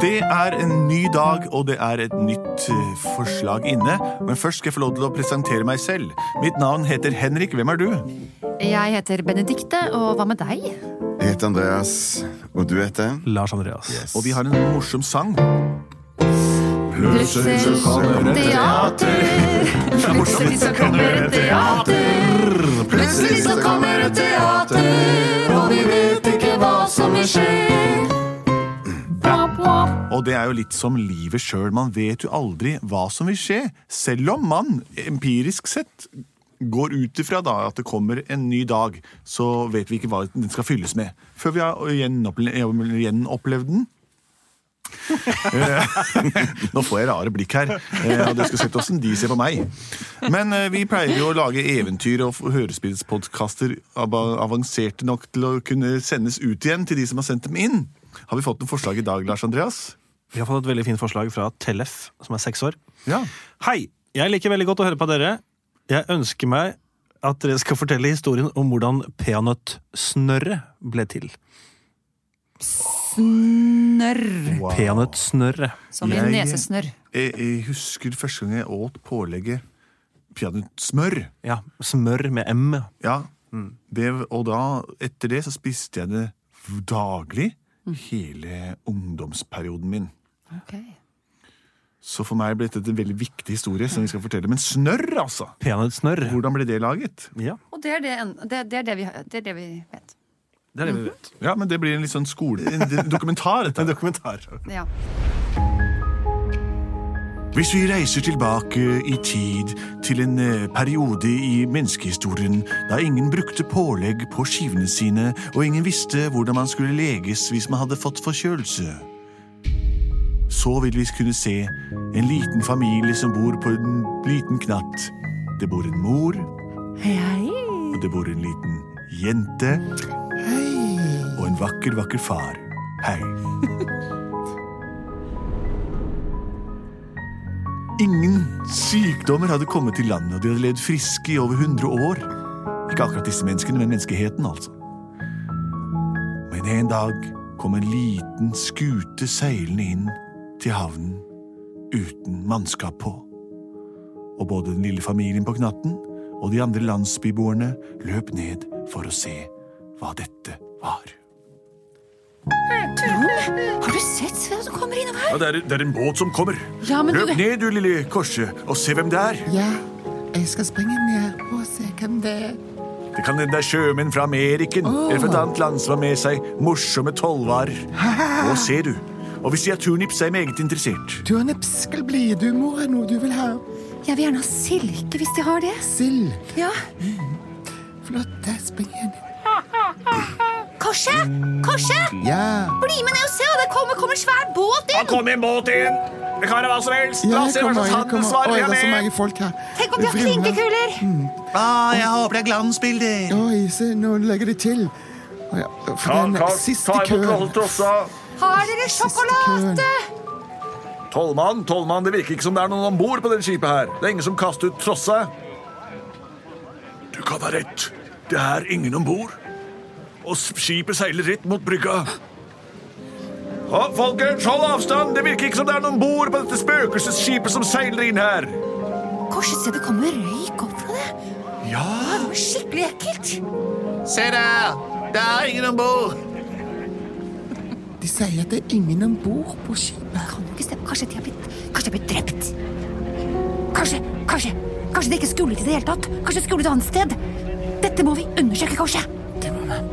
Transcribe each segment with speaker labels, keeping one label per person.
Speaker 1: Det er en ny dag, og det er et nytt eh, forslag inne. Men først skal jeg få lov til å presentere meg selv. Mitt navn heter Henrik. Hvem er du?
Speaker 2: Jeg heter Benedikte, og hva med deg?
Speaker 3: Jeg heter Andreas, og du heter?
Speaker 4: Lars Andreas.
Speaker 1: Og vi har en morsom sang.
Speaker 2: Plutselig så kommer et teater. Plutselig så kommer et teater. Plutselig så kommer et teater, og vi vet ikke hva som vil skje. Bap, bap.
Speaker 1: Og det er jo litt som livet sjøl. Man vet jo aldri hva som vil skje. Selv om man empirisk sett går ut ifra da at det kommer en ny dag, så vet vi ikke hva den skal fylles med. Før vi har gjenopple- gjenopplevd den. Eh, Nå får jeg rare blikk her, eh, og dere skal sett hvordan de ser på meg. Men eh, vi pleier jo å lage eventyr og f- hørespillspodkaster av- avanserte nok til å kunne sendes ut igjen til de som har sendt dem inn. Har vi fått noen forslag i dag, Lars Andreas?
Speaker 4: Vi har fått et veldig fint forslag fra Tellef, som er seks år.
Speaker 1: Ja.
Speaker 4: Hei! Jeg liker veldig godt å høre på dere. Jeg ønsker meg at dere skal fortelle historien om hvordan peanøttsnørret ble til.
Speaker 2: Snørr.
Speaker 4: Peanøttsnørret.
Speaker 2: Som i
Speaker 1: Jeg-
Speaker 2: nesesnørr.
Speaker 1: Jeg, jeg husker første gang jeg åt pålegget peanøttsmør.
Speaker 4: Ja, smør med M.
Speaker 1: Ja.
Speaker 4: Mm.
Speaker 1: Det, og da, etter det så spiste jeg det daglig
Speaker 2: Mm.
Speaker 1: hele ungdomsperioden min.
Speaker 2: Ok.
Speaker 1: Så for meg ble dette en veldig viktig historie som vi skal fortelle. Men snørr, altså!
Speaker 4: Peanøttsnørr.
Speaker 1: Hvordan ble det laget?
Speaker 4: Ja,
Speaker 2: Og det er det, en- det, det, er det, vi, det er det vi vet.
Speaker 4: det er det vi vet.
Speaker 1: Ja, men Det blir en litt sånn skole... En dokumentar, dette.
Speaker 4: En dokumentar.
Speaker 2: Ja.
Speaker 1: Hvis vi reiser tilbake i tid til en eh, periode i menneskehistorien da ingen brukte pålegg på skivene sine, og ingen visste hvordan man skulle leges hvis man hadde fått forkjølelse, så vil vi kunne se en liten familie som bor på en liten knatt. Det bor en mor, og det bor en liten jente, og en vakker, vakker far. Hei. Ingen sykdommer hadde kommet til landet, og de hadde levd friske i over 100 år. Ikke akkurat disse menneskene, men menneskeheten, altså. Men en dag kom en liten skute seilende inn til havnen uten mannskap på. Og både den lille familien på Knatten og de andre landsbyboerne løp ned for å se hva dette var.
Speaker 2: Har du sett hvem som kommer innom her?
Speaker 1: Ja, det, er, en båt som kommer.
Speaker 2: Ja, men du...
Speaker 1: ned, du lille korset, og se hvem det er.
Speaker 5: Ja, jeg skal springe ned og se hvem det er.
Speaker 1: Det kan hende det er sjømenn fra Ameriken eller fra et annet land som har med seg morsomme tollvarer. Og ser du. Og hvis de har turnips, er jeg meget interessert.
Speaker 5: Turnip skal bli. Du må ha noe du vil ha.
Speaker 2: Jeg vil gjerne ha silke hvis de har det.
Speaker 5: Sild.
Speaker 2: Ja.
Speaker 5: Flott, der springer jeg ned.
Speaker 2: Korset! Korset!
Speaker 5: Ja.
Speaker 2: Bli med ned og se! Det kommer, kommer en svær båt inn!
Speaker 4: Kom i båt inn! Det kan være hva som helst!
Speaker 5: Ja, jeg kommer, jeg kommer. Oi, det er så mange folk her.
Speaker 2: Tenk om de har
Speaker 5: Vrimler.
Speaker 2: klinkekuler!
Speaker 1: Ah, jeg håper det er glansbilder.
Speaker 5: Oi, se, nå legger de til. Å ja, For den siste køen.
Speaker 2: Har dere sjokolade?
Speaker 1: Tollmann, tollmann, det virker ikke som det er noen om bord på det skipet her. Det er ingen som kaster ut trossa. Du kan ha rett. Det er ingen om bord. Og skipet seiler rett mot brygga. folkens, hold avstand! Det virker ikke som det er noen om bord på dette spøkelsesskipet som seiler inn her.
Speaker 2: Korset, se, det kommer røyk opp fra det.
Speaker 1: Ja,
Speaker 2: Det var skikkelig ekkelt.
Speaker 1: se der! Det er ingen om bord!
Speaker 5: De sier at det er ingen om bord på skipet.
Speaker 2: Kan jo ikke stemme. Kanskje de har blitt Kanskje de har blitt drept? Kanskje, kanskje Kanskje de ikke skulle til det hele tatt? Kanskje de skulle et annet sted? Dette må vi undersøke, kanskje.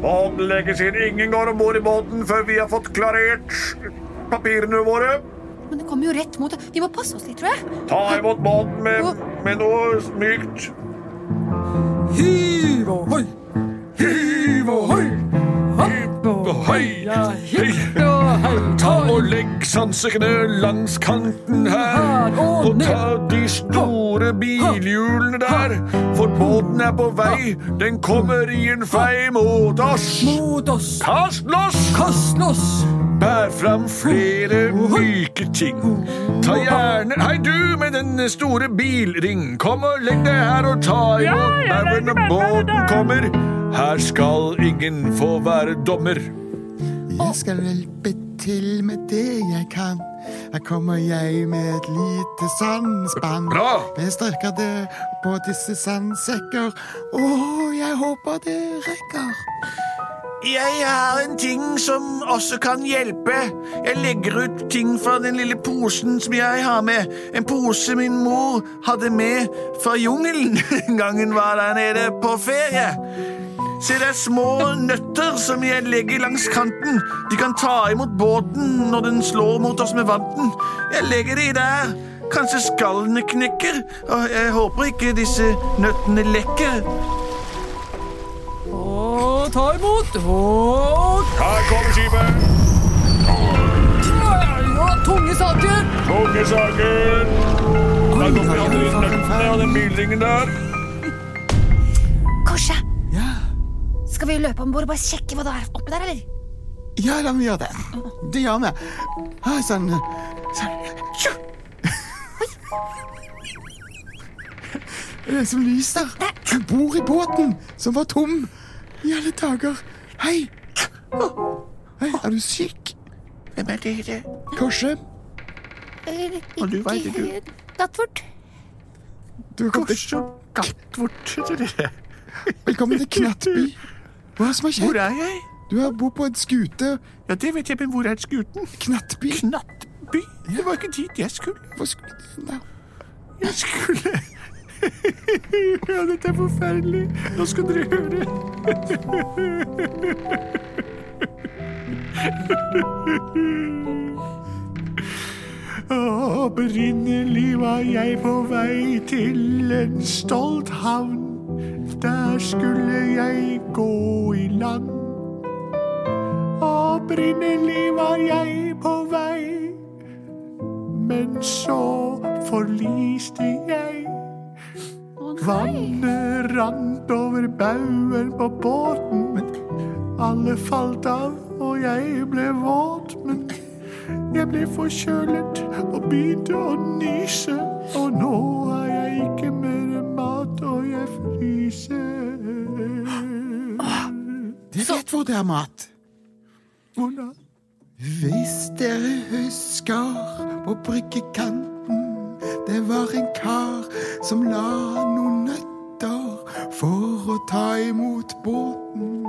Speaker 6: Båten legges inn. Ingen går om bord i båten før vi har fått klarert papirene våre.
Speaker 2: Men det kommer jo rett mot Vi må passe oss litt, tror jeg.
Speaker 6: Ta imot båten med, med noe mykt.
Speaker 7: Hiv ohoi! Hiv ohoi! Hopp
Speaker 6: og hei, hei. Ta og legg sansekene langs kanten her. Og ta de store bilhjulene der, for båten er på vei. Den kommer i en fei mot oss.
Speaker 7: Mot oss,
Speaker 6: Kast loss!
Speaker 7: kast oss!
Speaker 6: Bær fram flere myke ting. Ta gjerne Hei, du med den store bilring. Kom og legg deg her og ta imot baugen når båten kommer. Her skal ingen få være dommer.
Speaker 5: Jeg skal hjelpe til med det jeg kan. Her kommer jeg med et lite sandspann.
Speaker 6: Bra!
Speaker 5: Jeg størker det på disse sandsekker. Å, jeg håper det rekker.
Speaker 1: Jeg har en ting som også kan hjelpe. Jeg legger ut ting fra den lille posen som jeg har med. En pose min mor hadde med fra jungelen den gangen var der nede på ferie. Se, det er små nøtter som jeg legger langs kanten. De kan ta imot båten når den slår mot oss med vanten. Jeg legger de der. Kanskje skallene knekker. Og jeg håper ikke disse nøttene lekker.
Speaker 7: Og ta imot. Og
Speaker 6: Her kommer skipet.
Speaker 7: ja, tunge saker.
Speaker 6: Tunge saken. Der kommer alle de nøttene og den bilringen der.
Speaker 2: Korset! Skal vi løpe om bord og bare sjekke hva det er oppi der, eller?
Speaker 5: Ja, la meg gjøre det. Det gjør vi. Ha, Sånn. sånn. Tju! Det er som lys der. Hun bor i båten, som var tom. I alle dager. Hei. Hei, er du syk?
Speaker 1: Hvem er dere?
Speaker 5: Korset,
Speaker 2: Eh,
Speaker 1: Og du
Speaker 2: ikke
Speaker 1: vet ikke.
Speaker 2: helt. Dattfort.
Speaker 5: du er kommet til,
Speaker 1: Så godt borte dere.
Speaker 5: velkommen til Knattby. Hva er det som har
Speaker 1: Hvor
Speaker 5: skjedd?
Speaker 1: er jeg?
Speaker 5: Du har bodd på en skute.
Speaker 1: Ja, det vet jeg, men hvor er skuten?
Speaker 5: Knattby.
Speaker 1: Knattby? Det var ikke dit jeg skulle.
Speaker 5: Hva skulle du da?
Speaker 1: Jeg skulle Ja, dette er forferdelig. Nå skal dere høre. Å, Opprinnelig var jeg på vei til en stolt havn. Der skulle jeg gå i land. Opprinnelig var jeg på vei men så forliste jeg. Vannet rant over baugen på båten. Alle falt av, og jeg ble våt. Men jeg ble forkjølet og begynte å nyse. Og nå har jeg ikke mer mat, og jeg fryser.
Speaker 5: Jeg vet hvor det er mat.
Speaker 1: Hvordan?
Speaker 5: Hvis dere husker på bryggekanten Det var en kar som la noen nøtter for å ta imot båten.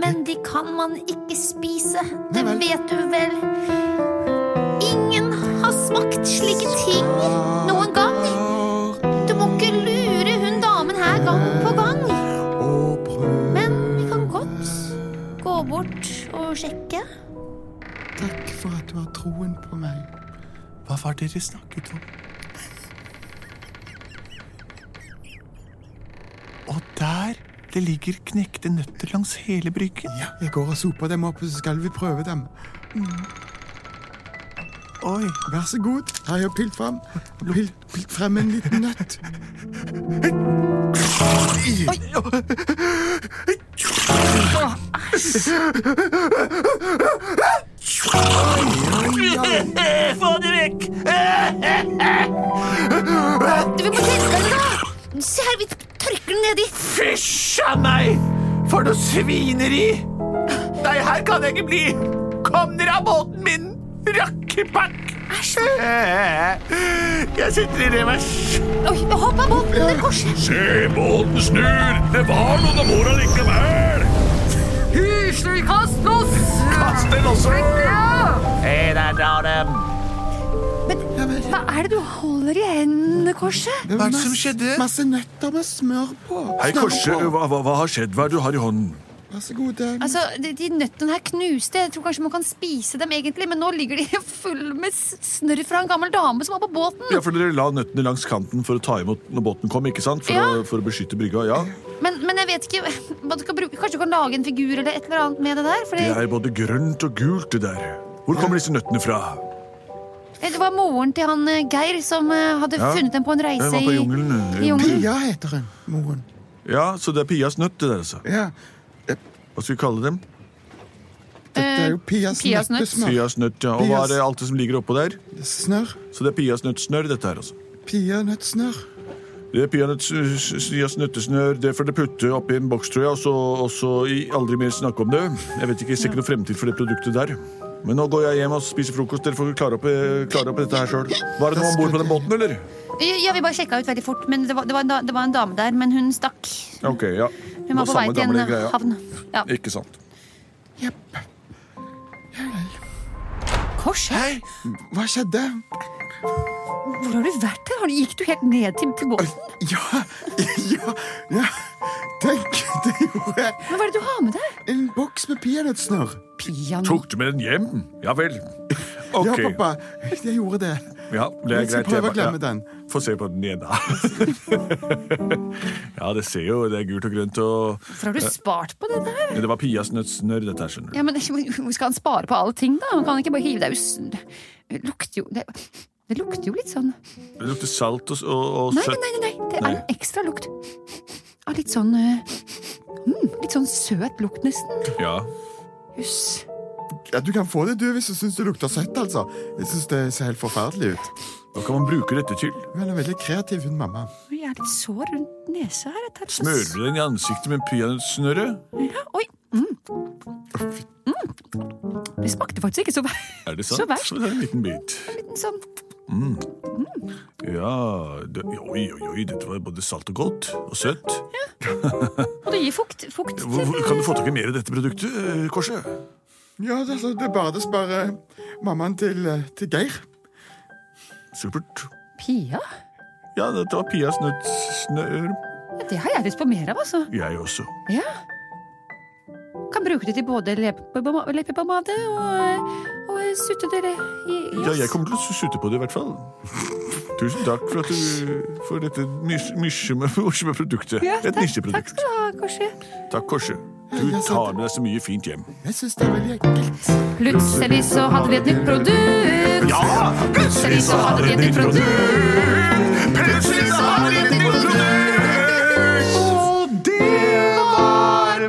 Speaker 2: Men de kan man ikke spise.
Speaker 5: Nei
Speaker 2: Det
Speaker 5: vel.
Speaker 2: vet du vel. Ingen har smakt slike ting noen gang. Du må ikke lure hun damen her gang på gang. Men vi kan godt gå bort og sjekke.
Speaker 5: Takk for at du har troen på meg.
Speaker 1: Hva var det dere snakket om? Og der det ligger knekte nøtter langs hele bryggen.
Speaker 5: Ja, jeg går og soper dem opp, og så skal vi prøve dem.
Speaker 1: Oi,
Speaker 5: Vær så god. Her har jeg pilt frem. Pilt, pilt frem en liten nøtt.
Speaker 2: Du, vi må tørke den, da! Se her, vi tørker den nedi.
Speaker 1: fysj a meg! For noe svineri! Nei, her kan jeg ikke bli! Kom dere av båten min, rakkepakk!
Speaker 2: Æsj.
Speaker 1: Jeg sitter i revers.
Speaker 2: Oi, hopp av båten under korset.
Speaker 6: Se, båten snur. Det var noen om bord allikevel.
Speaker 7: Hysj, kast oss!
Speaker 1: Kast den også! Hei, der drar dem!
Speaker 2: Hva er det du holder i hendene, korset?
Speaker 5: Det var
Speaker 1: Hva er det som
Speaker 5: masse-
Speaker 1: skjedde?
Speaker 5: Masse nøtter med smør på.
Speaker 6: Hei,
Speaker 5: Smør
Speaker 6: Korset,
Speaker 5: på.
Speaker 6: hva, hva, hva har skjedd? Hva er det du har i hånden?
Speaker 5: Vær så god, Dem.
Speaker 2: Altså, de, de nøttene her knuste. Jeg tror kanskje man kan spise dem, egentlig, men nå ligger de full med s- snørr fra en gammel dame som var på båten.
Speaker 1: Ja, for Dere la nøttene langs kanten for å ta imot når båten kom, ikke sant? For,
Speaker 2: Ja.
Speaker 1: å, for å beskytte brygga. ja.
Speaker 2: Men, men jeg vet ikke hva du skal bruke. Kanskje du kan lage en figur eller et eller annet med det der? Fordi
Speaker 1: Det er både grønt og gult, det der. Hvor kommer disse nøttene fra?
Speaker 2: Eh, det var moren til han eh, Geir som eh, hadde
Speaker 1: Ja.
Speaker 2: funnet dem på en
Speaker 1: Jeg
Speaker 2: reise
Speaker 1: var på
Speaker 2: i
Speaker 1: jungelen. eh,
Speaker 2: i jungelen.
Speaker 5: Pia heter hun, moren.
Speaker 1: Ja, Så det er Pias nøtt, det der, altså.
Speaker 5: Ja,
Speaker 1: Hva skal vi kalle dem?
Speaker 5: det er jo Pias,
Speaker 2: Pias nøtt.
Speaker 5: nøttesmør.
Speaker 1: Pias nøtt, ja. Og hva
Speaker 5: Pias-
Speaker 1: er det alt det som ligger oppå der?
Speaker 5: Snørr.
Speaker 1: Så det er Pias nøttsnørr, dette her, altså.
Speaker 5: Peanøttsnørr.
Speaker 1: Det er Pias nøttesnør, det får dere putte oppi en boks, tror jeg, og så, og så i, aldri mer snakke om det. Jeg vet ikke, jeg ser ikke noe fremtid for det produktet der. Men nå går jeg hjem og spiser frokost. Dere får klare opp, eh, klare opp dette her sjøl. Var det noe om bord på den båten, eller?
Speaker 2: Ja, vi bare sjekka ut veldig fort, men det var, det, var en da, det var en dame der, men hun stakk.
Speaker 1: Ok, ja.
Speaker 2: Hun var på vei
Speaker 1: Samme
Speaker 2: til en
Speaker 1: gamle
Speaker 2: eh,
Speaker 1: greia.
Speaker 2: havn. Ja.
Speaker 1: Ikke sant.
Speaker 2: Kors,
Speaker 5: Hei, hva skjedde?
Speaker 2: hvor har du vært her? Har du- Gikk du helt ned til, til båten?
Speaker 5: Ja, ja, ja. Tenk, det gjorde jeg.
Speaker 2: Men hva er det du har med deg?
Speaker 5: En boks med peanøttsnørr.
Speaker 2: Piano.
Speaker 1: Tok du med den hjem? Ja vel.
Speaker 5: Ja,
Speaker 1: Ok.
Speaker 5: pappa, jeg gjorde det.
Speaker 1: Ja, det er
Speaker 5: Jeg skal
Speaker 1: greit. Jeg
Speaker 5: prøve å
Speaker 1: ba-
Speaker 5: glemme
Speaker 1: ja.
Speaker 5: den.
Speaker 1: Få se på den igjen, da. ja, det ser jo Det er gult og grønt og
Speaker 2: Hvorfor har du spart på det der?
Speaker 1: Men Det var Pias nøttsnørr, dette her, skjønner du.
Speaker 2: Ja, men hvor Skal han spare på alle ting, da? Han kan ikke bare hive deg us... Det lukter jo det, det lukter jo litt sånn Nei,
Speaker 1: Det lukter salt og, og, og
Speaker 2: nei,
Speaker 1: søtt.
Speaker 2: nei, nei. det er
Speaker 1: Nei.
Speaker 2: en ekstra lukt. Av litt sånn eh, mm, Litt sånn søt lukt, nesten.
Speaker 1: Ja.
Speaker 2: Jøss.
Speaker 5: Ja, du kan få det, du, hvis du syns det lukter søtt, altså. Jeg syns det ser helt forferdelig ut.
Speaker 1: Hva kan man bruke dette til?
Speaker 5: Hun er veldig kreativ, hun mamma.
Speaker 2: Oi, Jeg er litt sår rundt nesa her. dette er så-
Speaker 1: Smører du den i ansiktet med peanøttsnørret?
Speaker 2: Ja, oi. Mm. Mm. Det smakte faktisk ikke så verst.
Speaker 1: Er det
Speaker 2: Så
Speaker 1: sant?
Speaker 2: verst.
Speaker 1: Så det er en liten bit.
Speaker 2: Sånn.
Speaker 1: Ja det, Oi, oi, oi, dette var både salt og godt. Og søtt.
Speaker 2: Og det gir fukt. fukt til- eh,
Speaker 1: Hvor, hvor, kan du få tak i mer av dette produktet, eh, Korset?
Speaker 5: Ja, det, altså, det er bare å spørre mammaen til, eh, til Geir.
Speaker 1: Supert.
Speaker 2: Pia?
Speaker 1: Ja, dette var Pias nøttsnørr.
Speaker 2: Ja, Det har jeg lyst på mer av, altså.
Speaker 1: Jeg også.
Speaker 2: Ja. Kan bruke det til både leppepomade leppepomade og, og sutte dere i i
Speaker 1: Ja,
Speaker 2: oss.
Speaker 1: jeg kommer til å su- sutte på det i hvert fall. Tusen takk for, at du, for dette mys- myrseme morsomme produktet.
Speaker 2: Ja,
Speaker 1: Et
Speaker 2: takk- Takk
Speaker 1: nisjeprodukt.
Speaker 2: skal du ha, Korsi.
Speaker 1: Takk, Korse. Du
Speaker 5: jeg sa
Speaker 1: tar med deg så mye fint hjem.
Speaker 5: Jeg syns det er veldig ekkelt.
Speaker 2: Plutselig så hadde vi et nytt produkt.
Speaker 1: Ja!
Speaker 2: Plutselig så hadde vi et nytt produkt.
Speaker 1: Plutselig så har vi et nytt produkt! Og det var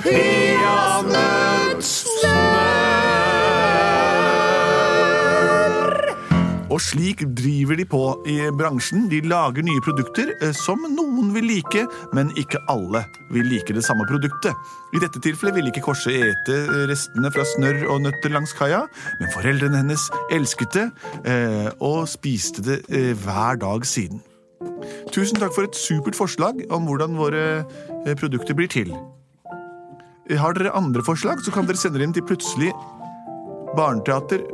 Speaker 1: peanøttsnørr! Og slik driver de på i bransjen. De lager nye produkter eh, som noen vil like, men ikke alle vil like det samme produktet. I dette tilfellet ville ikke Korse ete eh, restene fra snørr og nøtter langs kaia, men foreldrene hennes elsket det eh, og spiste det eh, hver dag siden. Tusen takk for et supert forslag om hvordan våre eh, produkter blir til. Eh, Har dere andre forslag, så kan dere sende det inn til plutselig barneteater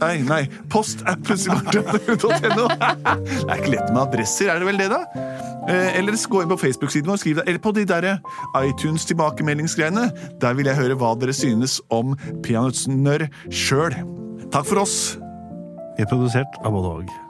Speaker 1: Nei, nei. Post at plutseligbarneteater.no. Det er ikke lett med adresser, er det vel det, da? Eh, Eller så gå inn på Facebook-siden vår og skriv det. Eller på de der iTunes-tilbakemeldingsgreiene. Der vil jeg høre hva dere synes om peanøttsnørr sjøl. Takk for oss.
Speaker 4: Vi er produsert av både og.